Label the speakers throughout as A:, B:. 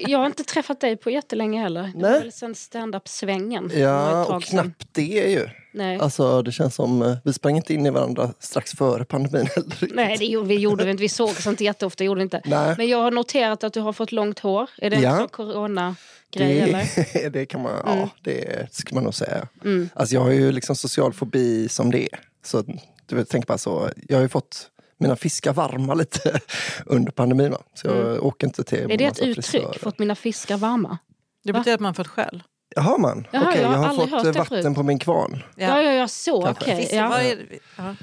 A: Jag har inte träffat dig på jättelänge heller. Det
B: Nej.
A: var väl sen standup-svängen. Det var
B: Ja,
A: ett tag
B: och
A: sedan.
B: knappt det ju.
A: Nej.
B: Alltså, det känns som eh, vi sprang inte in i varandra strax före pandemin heller. riktigt.
A: Nej, det gjorde vi, gjorde vi inte. Vi såg inte jätteofta. Gjorde vi inte.
B: Nej.
A: Men jag har noterat att du har fått långt hår. Är det
B: Ja.
A: en sån corona-grej? Eller?
B: det, det kan man,
A: Mm.
B: ja, det ska man nog säga.
A: Mm.
B: Alltså jag har ju liksom social fobi som det är. Så du vet, tänk bara så, jag har ju fått mina fiskar varma lite under pandemin. Va? Så jag åker inte till
A: Mm. Är det ett
B: massa
A: uttryck?
B: frisörer.
A: Fått mina fiskar varma?
C: Det
A: Va?
C: betyder att man fått skäll.
B: Jaha man,
A: Jaha,
B: okej,
A: jag har
B: jag har
A: aldrig
B: fått
A: hört det
B: eh, vatten
A: förut.
B: på min kvarn.
A: Ja, ja, ja så.
B: Kanske.
A: Okej.
C: Visst, vad
A: Ja.
C: är det- ja.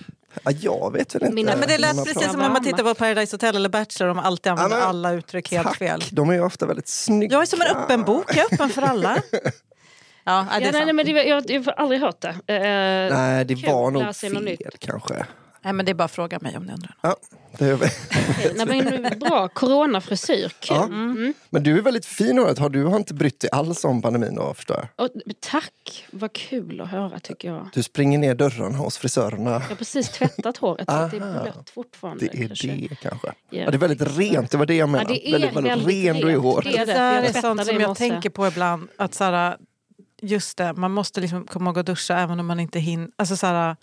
B: Ja, jag vet väl inte.
A: Mina-
C: Nej, men det
B: hur man
C: lät precis
B: pratar.
C: som när man tittar på Paradise Hotel eller Bachelor. De alltid använder
B: Ja, men-
C: alla uttryck helt
B: Tack.
C: fel.
B: De är ju ofta väldigt snygga.
C: Jag är som en öppen bok, jag är öppen för alla. Ja, nej, det
A: Ja,
C: är
A: nej, nej,
C: sant.
A: men det, jag, jag har aldrig hört det. Eh,
B: Nej, det
A: Kul,
B: var
A: lära
B: nog
A: sig något
B: fel
A: nytt.
B: kanske.
C: Nej, men det är bara att fråga mig om ni undrar.
B: Ja, det gör vi.
A: okej. nej, men, bra, coronafrisyr. Kul.
B: Ja.
A: Mm.
B: Men du är väldigt fin Oret. har du har inte brytt dig alls om pandemin då förstår jag.
A: Och, tack, vad kul att höra tycker jag.
B: Du springer ner dörrarna hos frisörerna.
A: Jag har precis tvättat håret så att det är
B: Aha.
A: blött fortfarande.
B: Det är
A: kanske.
B: det kanske.
A: Ja.
B: Ja, det är väldigt rent, det var det jag
A: Ja,
B: menade.
A: det är
B: väldigt, väldigt, ren du är i hår.
A: Det är det,
C: det
A: för jag
C: där är
A: tvättade
C: sånt som
A: i
C: jag
A: morse.
C: tänker på ibland. Att så här, just det, man måste liksom komma ihåg att duscha även om man inte hinner. Alltså så här,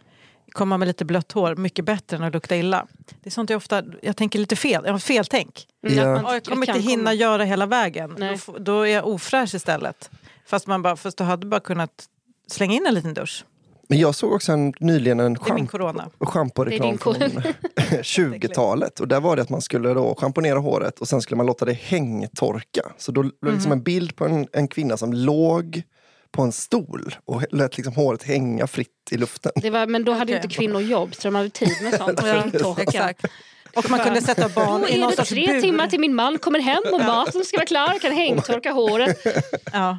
C: komma med lite blött hår, mycket bättre än att lukta illa. Det är sånt jag ofta, jag tänker lite fel, jag har fel tänk.
B: Ja.
A: man
C: Ja, jag kommer
A: Mm. kan
C: inte hinna
A: komma-
C: göra hela vägen.
A: Nej.
C: Då, f- då är jag ofräsch istället. Fast man bara, fast du hade bara kunnat slänga in en liten dusch.
B: Men jag såg också en, nyligen en
C: Det är min
B: schamp-
C: corona.
B: schamporeklam
A: Det är
B: från
A: din
B: 20-talet. Och där var det att man skulle då schamponera håret och sen skulle man låta det hängtorka. Så då låg
A: Mhm.
B: liksom en bild på en, en kvinna som låg på en stol och lät liksom håret hänga fritt i luften.
A: Det var, men då hade ju
C: Okej.
A: inte kvinnor jobb så de hade tid med sånt. Hängtorka.
C: Exakt. Och man kunde sätta barn
A: Då
C: i
A: är
C: någon
A: det
C: sorts
A: tre
C: bur.
A: timmar till min man kommer hem och maten ska vara klar. Jag kan hängtorka håret. Alltså,
C: Ja.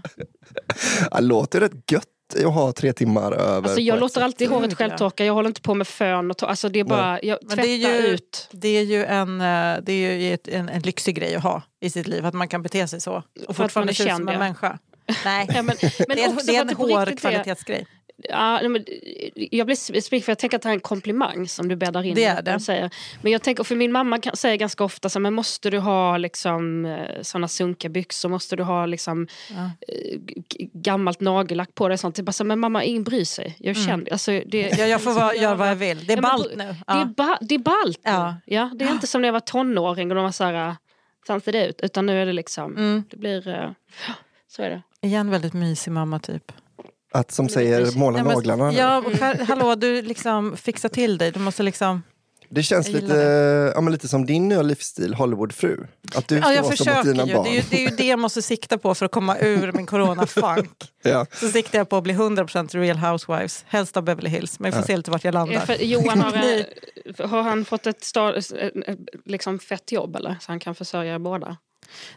B: Ja, Det låter ju rätt gött att ha tre timmar över.
A: Alltså,
B: på
A: jag
B: ett
A: låter
B: sätt.
A: alltid håret
C: Gud, ja.
A: självtorka. Jag håller inte på med fön. Och to- alltså, det är bara, jag
C: Men
A: tvättar
C: det är ju-
A: ut.
C: Det är ju, en, eh, det är ju ett, en, en lyxig grej att ha i sitt liv, att man kan bete sig så. Och
A: man är
C: fortfarande se ut
A: känd,
C: som en
A: ja.
C: människa. Nej.
A: Ja, men, men
C: det är,
A: också
C: det är
A: för
C: en
A: att på riktigt är-
C: hårkvalitetsgrej.
A: Ja, nej, men, jag blir specifik för jag tänker att det här är en komplimang som du bäddar in.
C: Det
A: i
C: är
A: vad
C: det.
A: du Säger. Men jag tänker, för min mamma kan, säger ganska ofta så här, men måste du ha liksom, eh, såna sunkiga byxor, måste du ha liksom,
C: Ja.
A: eh, g- gammalt nagellack på dig och sånt. Det är bara så här, men mamma, ingen bryr sig. Jag
C: Mm.
A: känner, alltså, det,
C: Ja, jag får
A: liksom
C: vara, göra vad jag vill. Det är
A: Ja, men
C: ballt
A: då-
C: nu.
A: Det är,
C: Ja.
A: ba, det är ballt nu.
C: Ja.
A: ja, Det är inte som när jag var tonåring och de var så här, äh, fan ser det ut? Utan nu är det liksom,
C: Mm.
A: det blir, eh, så är det.
C: Igen väldigt mysig mamma typ.
B: Att som säger måla
C: Nej, men- alltså,
B: naglarna. nu.
C: Ja, och skär, hallå, du liksom fixar till dig. Du måste liksom...
B: Det känns
C: Jag gillar
B: lite, Ja, men lite som din nya livsstil, Hollywoodfru. Att du ska
C: Ja, jag
B: vara som åt
C: försöker ju.
B: dina
C: Det
B: barn.
C: är ju, det är ju det jag måste sikta på för att komma ur min corona-funk.
B: Ja.
C: Så siktar jag på att bli 100% real housewives. Helst av Beverly Hills, men vi får se lite vart jag
A: Eh,
C: landar.
A: För Johan har, eh, har han fått ett sta, eh, eh, liksom fett jobb eller? Så han kan försörja er båda?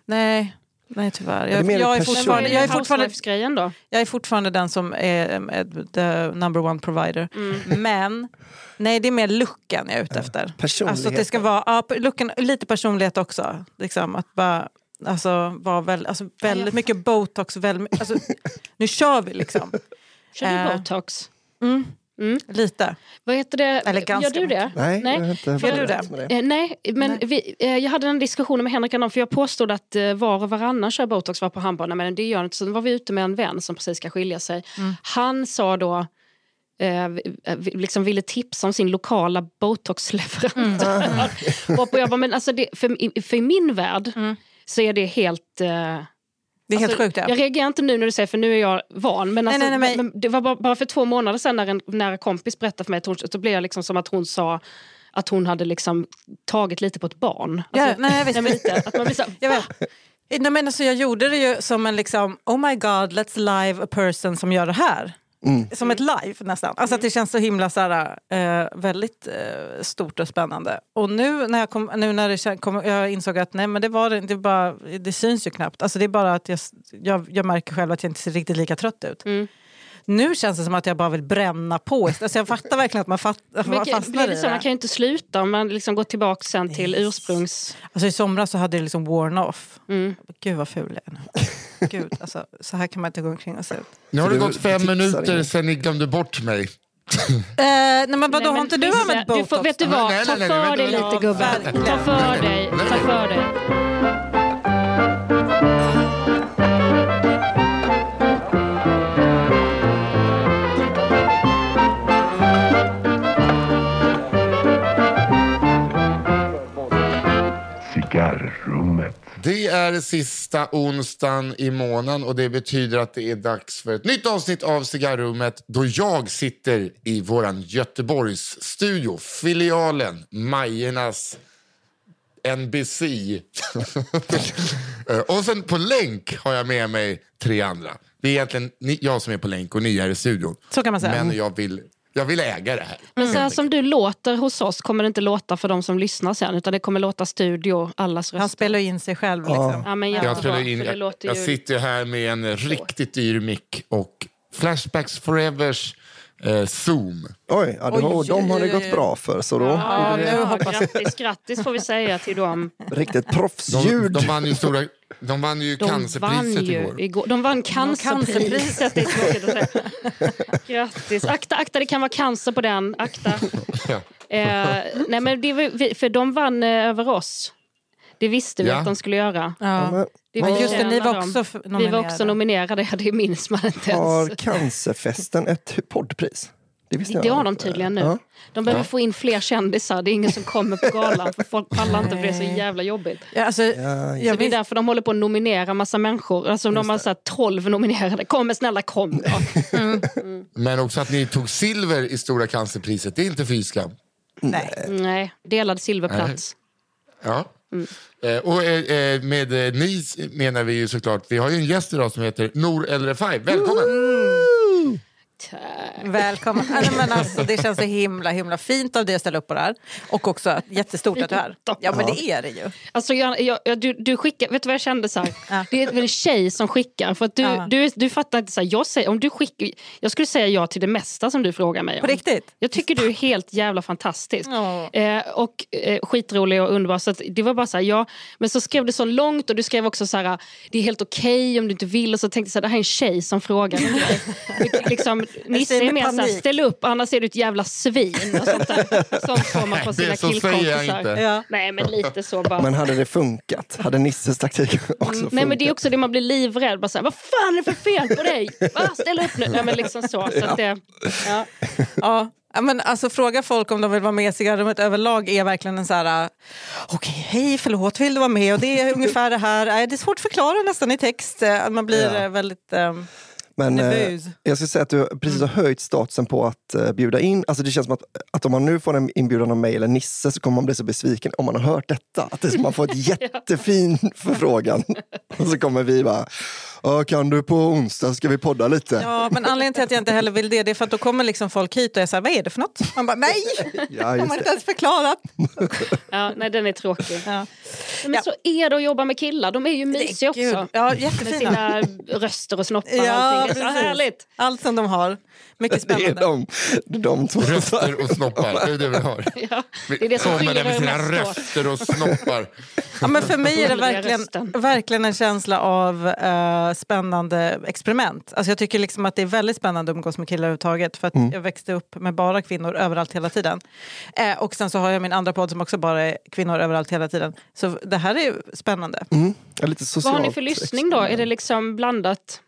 C: Nej, nej tyvärr.
B: det
C: Jag,
B: mer
C: jag, är
B: ett person-
C: fortfarande, jag, är fortfarande,
A: grejen då?
C: jag är fortfarande den som är em, eh, the number one provider.
A: Mm.
C: Men nej, det är mer looken jag är ute efter.
B: Personlighet.
C: Alltså att det ska vara ja, p- looken, lite personlighet också. Liksom, att bara, alltså, vara väl, alltså, väldigt mycket botox. Väl, alltså, nu kör vi liksom.
A: Kör du
C: Eh.
A: botox?
C: Mm.
A: Mm.
C: Lite.
A: Vad heter det?
C: Eller ganska
A: Gör du det?
B: Nej,
A: Nej.
B: jag har inte
A: Gör
C: du
B: börjat
C: det?
B: med
A: Eh, nej, men
C: Nej.
A: Vi, eh, jag hade en diskussion med Henrik om för jag påstod att eh, var och varannan kör botox var på han bara, "Nej, men det gör inte. Sen var vi ute med en vän som precis ska skilja sig.
C: Mm.
A: Han sa då, eh, vi- eh, vi- liksom ville tipsa om sin lokala botoxleverantör. och jag bara, men alltså det, för, i- för i min värld
C: Mm.
A: så är det helt... Eh,
C: Det är
A: Alltså,
C: helt sjukt. Ja.
A: Jag reagerar inte nu när du säger för nu är jag van. Men,
C: Nej,
A: alltså,
C: nej, nej,
A: men, men det var bara, bara för två månader sedan när en nära kompis berättade för mig att hon, så blev jag liksom som att hon sa att hon hade liksom tagit lite på ett barn. Alltså,
C: Ja, nej, visst.
A: nej, men lite, att man blir så här,
C: Jag, vet. Nej, men alltså, jag gjorde det ju som en liksom, oh my god, let's live a person som gör det här. Som ett live nästan. Alltså att det känns så himla så här, eh, väldigt eh, stort och spännande. Och nu när jag, kom, nu när det kän- kom, jag insåg att nej men det var det, inte, det, bara, det syns ju knappt. Alltså det är bara att jag, s- jag, jag märker själv att jag inte ser riktigt lika trött ut. Nu känns det som att jag bara vill bränna på. Alltså jag fattar verkligen att man fat,
A: men,
C: man fastnar
A: blir
C: i
A: det så, man
C: det.
A: kan ju inte sluta om man liksom går tillbaka sen till ursprungs...
C: Alltså I somras så hade det liksom worn off.
A: Mm.
C: Gud vad ful jag är nu. Gud, alltså, så här kan man inte gå omkring och se ut.
A: Eh,
D: Nu har
B: Så
D: det
B: du
D: gått fem
B: tipsar
D: minuter
B: ingen?
D: sen ni glömde bort mig.
C: Eh, nej men vadå,
A: Nej,
C: har
A: men
C: inte du
A: vissa-
C: använt
A: du
C: botox?
A: får, Vet du
D: då? Nej,
A: vad,
D: nej,
A: ta för
D: nej, nej, vänta,
A: dig
D: vänta.
A: lite gubben.
C: verkligen.
A: Ta för dig, ta för dig.
D: Det är sista onsdagen i månaden och det betyder att det är dags för ett nytt avsnitt av Cigarrummet då jag sitter i våran Göteborgsstudio, filialen Majernas NBC. Eh, och sen på länk har jag med mig tre andra. Det är egentligen ni, jag som är på länk och ni är i studion.
C: Så kan man säga.
D: Men jag vill, jag vill äga det här.
A: Men så här som du låter hos oss kommer det inte låta för de som lyssnar sen utan det kommer låta studio, allas
C: Han
A: röst.
C: spelar ju in sig själv. Liksom.
A: Ja, men jättebra,
D: Jag, spelar in,
A: för det
D: jag,
A: låter
D: jag
A: ju-
D: sitter ju här med en riktigt dyr mick och Flashbacks Forevers eh, zoom.
B: Oj, ja, det var,
C: Oj,
B: de har det
C: oj, oj.
B: gått bra för. Så då
A: Ja,
B: gjorde det
A: bra. Grattis, grattis får vi säga till dem.
B: riktigt
D: De,
B: proffsljud.
D: de vann ju, stora, de vann ju
A: De vann
D: cancerpriset
A: ju
D: igår.
A: igår. De vann cancerpriset. Det är tråkigt att säga. Grattis. Akta, akta, det kan vara cancer på den. Akta.
D: Ja.
A: Eh, nej, men det var, vi- för de vann eh, över oss. Det visste vi
D: Ja.
A: att de skulle göra.
B: Ja,
C: Ja.
B: men
A: Det
C: Men
A: vi
C: just det, ni
A: förtjänar
C: var
A: dem.
C: också f- nominerade.
A: Vi var också nominerade, det minns man inte ens.
B: har cancerfesten ett poddpris? Det visste
A: Det
B: jag
A: har de
B: inte.
A: tydligen nu.
B: Ja.
A: De behöver
D: Ja.
A: få in fler kändisar. Det är ingen som kommer på galan. För folk pallar inte för det är så jävla jobbigt.
C: Ja, alltså,
B: Ja,
C: jag
A: Det är
C: visste-
A: därför de håller på att nominera massa människor. Alltså de har så här 12 nominerade. Kom men snälla kom då.
D: Men också att ni tog silver i Stora cancerpriset, det är inte fy skam.
C: nej.
A: Nej, delad silverplats.
D: Ja.
A: Mm.
D: Eh, och eh, eh, med eh, ni menar vi ju såklart, vi har ju en gäst idag som heter Nor El Refai. Välkommen!
C: Välkommen. Ja, men alltså, det känns så himla himla fint av dig att ställa upp på det här. Och också att- jättestort att du är här. Ja, men det är det ju.
A: Alltså jag, jag, jag, du, du skickar, vet du vad jag kände? Så här?
C: Ja.
A: Det är väl en tjej som skickar. För att du,
C: Ja.
A: du, du fattar inte, så här, jag, säger, om du skickar, jag skulle säga ja till det mesta som du frågar mig
C: På
A: om.
C: riktigt.
A: Jag tycker du är helt jävla fantastisk.
C: Ja.
A: Eh, och eh, skitrolig och underbar. Så att det var bara så här, ja. Men så skrev du så långt och du skrev också så här, det är helt okej om du inte vill. Och så tänkte jag så här, det här är en tjej som frågar. Vilket liksom, Nisse
C: ser
A: är
C: med
A: mer så här,
C: panik.
A: ställ upp annars är du ett jävla svin. Och sånt där. Sånt får man på sina
D: Det så säger jag inte.
A: killkompisar.
C: Ja.
A: Nej men lite så bara.
B: Men hade det funkat? Hade Nisses taktik också funkat?
A: Mm, Nej men det är också det man blir livrädd. Bara så här, Vad fan är det för fel på dig? Va? Ställ upp nu. Nej, men liksom så. så att det, ja.
C: Ja. Ja, men alltså, fråga folk om de vill vara med i cigarrummet överlag är verkligen en så här... äh, Okej, hej, förlåt, vill du vara med? Och det är ungefär det här. Nej, Det är svårt att förklara nästan i text. eh, att Man blir
B: Ja.
C: eh, väldigt... ehm,
B: Men eh,
C: Nervös.
B: jag skulle säga att du precis
A: Mm.
B: har höjt statusen på att eh, bjuda in. Alltså det känns som att, att om man nu får en inbjudan av mig eller Nisse så kommer man bli så besviken om man har hört detta. Att det är som att man får ett jättefin förfrågan. Och så kommer vi bara, "Ja, kan du på onsdag ska vi podda lite?
C: Ja, men anledningen till att jag inte heller vill det, det är för att då kommer liksom folk hit och är så här, vad är det för något? Man bara, nej!
B: Ja,
C: De
B: just
C: har inte
B: det.
C: ens förklarat.
A: Ja, nej den är tråkig.
C: Ja.
A: Men
C: Ja.
A: så är det att jobba med killar. De är ju mysiga också.
C: Ja,
A: Med
C: jättefina.
A: sina röster och snoppar och
C: Ja,
A: allting. Det är så
C: precis.
A: härligt.
C: Allt som de har. Mycket
B: Det är
C: spännande.
B: de, de två.
D: Röster och snoppar, det är det vi har.
A: Ja, det är det som
D: Kommer
A: skiljer
D: där med
A: er
D: sina
A: mest åt.
D: röster och snoppar.
C: Ja, men för mig är det
A: Underliga
C: verkligen,
A: rösten.
C: verkligen en känsla av eh, spännande experiment. Alltså jag tycker liksom att det är väldigt spännande att umgås med killar överhuvudtaget för att jag växte upp med bara kvinnor överallt hela tiden. Eh, och sen så har jag min andra podd som också bara är kvinnor överallt hela tiden. Så det här är ju spännande.
B: Mm, ja, lite
A: Vad
B: socialt
A: har ni för lyssning då? Är det liksom blandat?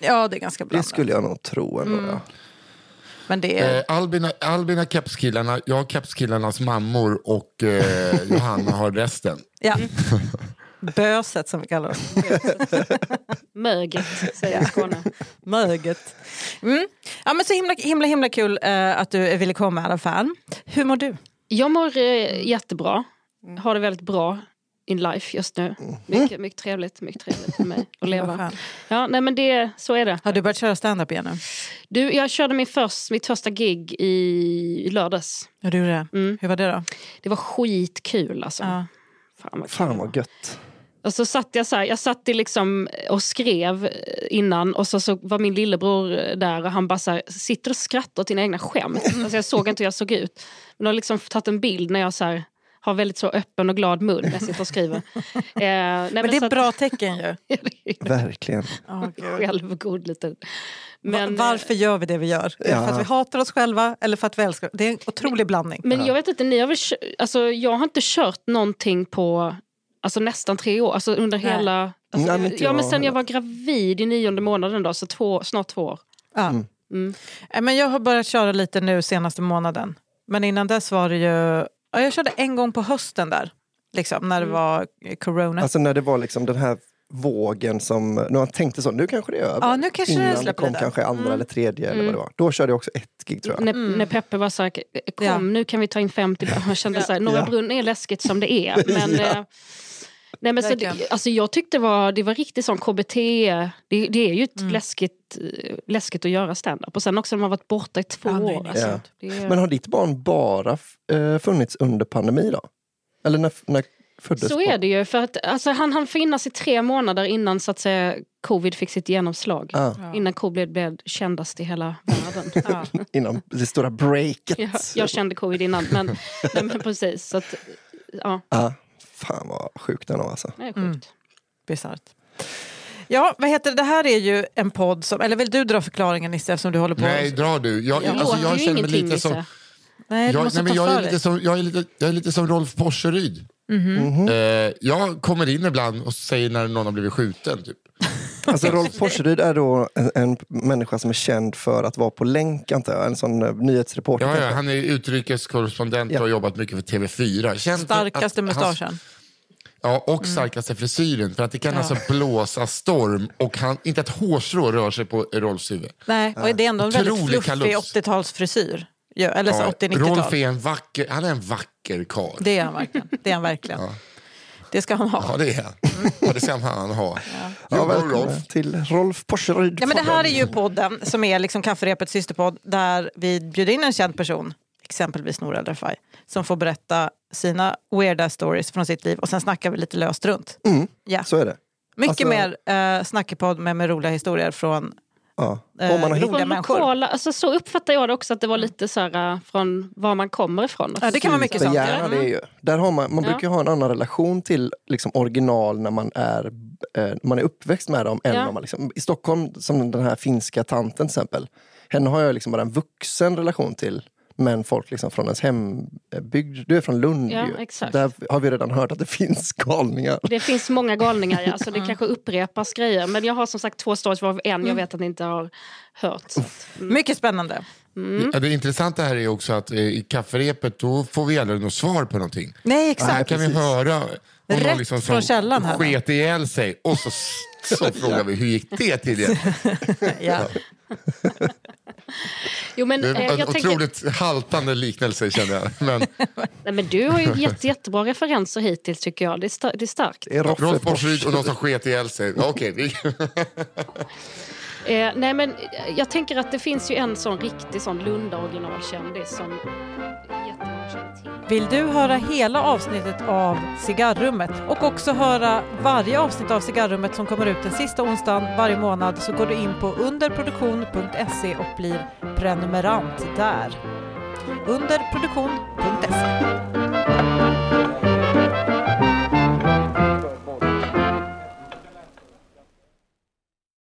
C: Ja, det är ganska bra.
B: Det skulle jag nog tro ändå.
A: Mm.
B: Ja.
C: Men det är...
D: Eh, Albin, har- Albin har kepskillarna, jag har kepskillarnas mammor och eh, Johanna har resten.
C: Ja. Böset som vi kallar det.
A: Möget, säger jag i Skåne.
C: Möget. Mm. Ja, men så himla, himla, himla kul eh, att du ville komma i alla fall. Hur mår du?
A: Jag mår eh, jättebra.
C: Mm.
A: Har det väldigt bra in life just nu. Mycket, mycket trevligt, mycket trevligt för mig att leva.
C: skönt.
A: Ja, nej men det, så är det.
C: Har du börjat köra stand-up igen nu?
A: Du, jag körde min först, mitt första gig i, i lördags.
C: Ja, du det.
A: Mm.
C: Hur var det då?
A: Det var skitkul alltså.
C: Ja.
A: Fan vad kul.
B: Fan vad gött.
A: Och så satt jag så här, jag satt i liksom och skrev eh, innan och så, så var min lillebror eh, där och han bara så här, sitter och skrattar åt dina egna skämt. Alltså jag såg inte hur jag såg ut. Men de har liksom tagit en bild när jag så här, har väldigt så öppen och glad mun när jag sitter och skriver. Eh, nej,
C: Men det
A: så
C: är
A: att-
C: bra tecken ju.
B: Verkligen.
A: Självgod liten.
C: Men,
A: eh,
C: Varför gör vi det vi gör? Är det För
B: Ja.
C: att vi hatar oss själva eller för att vi älskar Det är en otrolig blandning.
A: Men jag vet inte, ni har väl, kö- alltså, jag har inte kört någonting på alltså, nästan tre år. Alltså under
C: Nej.
A: hela... Alltså,
B: Mm. Nej, men inte
A: ja,
B: jag
A: men sen jag
B: heller.
A: var gravid i nionde månaden, då, så två, snart två år.
C: Ja.
A: Mm.
C: Eh, Men jag har börjat köra lite nu senaste månaden. Men innan dess var det ju... Ja, jag körde en gång på hösten där. liksom, när det
A: Mm.
C: var corona.
B: Alltså när det var liksom den här vågen som, när man tänkte så, nu kanske det är över.
C: Ja, nu kanske det
B: Innan det
C: släpper
B: kom
C: lite. Mm.
B: kanske andra eller tredje eller vad det var. Då körde jag också ett gig tror jag.
A: När, när Peppe var så här, kom
C: Ja.
A: nu kan vi ta in 50 barn. Jag kände så här, Norra
B: Ja.
A: Brunn är läskigt som det är. Men, eh, nej, men så,
C: Verkligen.
A: det- alltså, jag tyckte det var, det var riktigt sån KBT. Det, det är ju ett
C: Mm.
A: läskigt, eh, läskigt att göra standup. Och sen också när man varit borta i två
C: Ja, nej,
A: år.
C: nej.
A: Alltså,
B: Ja.
A: det är,
B: Men har ditt barn bara eh, funnits under pandemi då? Eller när, när föddes
A: så är det ju. För att, alltså, han hann finnas i tre månader innan så att säga, covid fick sitt genomslag.
B: Ah,
A: Innan covid blev kändast i hela världen.
C: Ja.
B: innan det stora breaket.
A: Jag, jag kände covid innan, men, nej, men precis. Så att, ja,
B: Ah, fan vad sjukt den var alltså.
A: det är sjukt.
D: Mm.
C: Bisarrt. Ja, vad heter det? det här är ju en podd som... Eller vill du dra förklaringen Nisse eftersom du håller på?
D: Nej, dra du. Jag,
A: Det
D: alltså,
A: låter
D: jag
A: ju
D: känner mig
A: ingenting,
D: lite som...
A: Nisse.
C: Nej, du
D: Jag,
C: måste
D: nej, men
C: ta
D: jag,
C: för
D: är
C: dig. Mhm.
D: lite som, jag, är lite, jag är lite som Rolf Porseryd. Eh, jag kommer in ibland och säger när någon har blivit skjuten. Typ.
B: alltså Rolf Porseryd är då en, en människa som är känd för att vara på länk antar jag, en sån eh, nyhetsreporter.
D: Ja, ja,
B: kanske.
D: han är utrikeskorrespondent och har jobbat mycket för TV4. Känd för
C: Starkaste
D: att-
C: mustaschen. Mm.
D: Ja, och starkaste frisyren. För att det kan alltså blåsa storm och han, inte ett hårstrå rör sig på Rolfs huvud.
C: Nej, och det är ändå en väldigt
D: Otrolig
C: fluffig
D: kalufs.
C: 80-talsfrisyr. Ja, eller så
D: Ja,
C: 80-90-tal.
D: Rolf E. är en vacker, han är en vacker karl.
C: Det är han verkligen. Det, är han verkligen. det ska han ha.
D: Ja, det är han.
C: Mm.
D: Ja, det ska han ha. Jo,
B: Ja,
D: Rolf.
B: välkommen till Rolf Porseryd.
C: Ja, men det här är ju podden som är liksom Kafferepets systerpodd där vi bjuder in en känd person, exempelvis Nour El Refai, som får berätta sina weirda stories från sitt liv och sen snackar vi lite löst runt. Ja.
B: Så är det.
C: Mycket
B: alltså-
C: mer eh, snackepodd med, med roliga historier från...
B: Ja.
C: Eh,
B: Om man har hittat...
C: Rolf-
A: Från
C: Roliga människor.
A: lokala, alltså så uppfattar jag det också, att det var lite så här, äh, från var man kommer ifrån.
C: Ja, det kan vara mycket sånt. ja.
B: Ja, det är ju. Där har man, man
A: Ja.
B: brukar ju ha en annan relation till liksom, original när man är, eh, man är uppväxt med dem. Än
A: Ja.
B: om man liksom, I Stockholm, som den här finska tanten till exempel. Henne har jag liksom bara en vuxen relation till. Men folk liksom från ens hembygd. Du är från Lund
A: Ja,
B: ju.
A: exakt.
B: Där har vi redan hört att det finns galningar.
A: Det finns många galningar, ja. så det kanske upprepas grejer. Men jag har som sagt två stories varav en
D: Mm.
A: jag vet att ni inte har hört. Så att,
C: Mycket spännande. Mm.
D: Ja, Det intressanta här är också att eh, i kafferepet då får vi aldrig något svar på någonting.
C: Nej,
D: Här
C: exakt.
D: kan vi höra om
C: Rätt
D: någon liksom
C: från
D: som
C: källan här.
D: sket ihjäl sig och så, så frågar vi hur gick det till igen?
C: Ja.
A: jo, men,
D: Det
A: eh,
D: är en
A: jag tänker,
D: otroligt haltande liknelse känner jag. Men
A: nej, men du har ju gett jättebra referenser hittills tycker jag. Det är, sta- det är starkt.
B: Det är Roffe
D: Rolf
B: Porsch.
D: Porseryd och någon som sket ihjäl sig. Ja, Okej, vi-
A: Eh, nej, men eh, jag tänker att det finns ju en sån riktig sån Lunda originalkändis som jättemånga känner till.
C: Vill du höra hela avsnittet av Cigarrummet och också höra varje avsnitt av Cigarrummet som kommer ut den sista onsdagen varje månad så går du in på underproduktion.se och blir prenumerant där. Underproduktion.se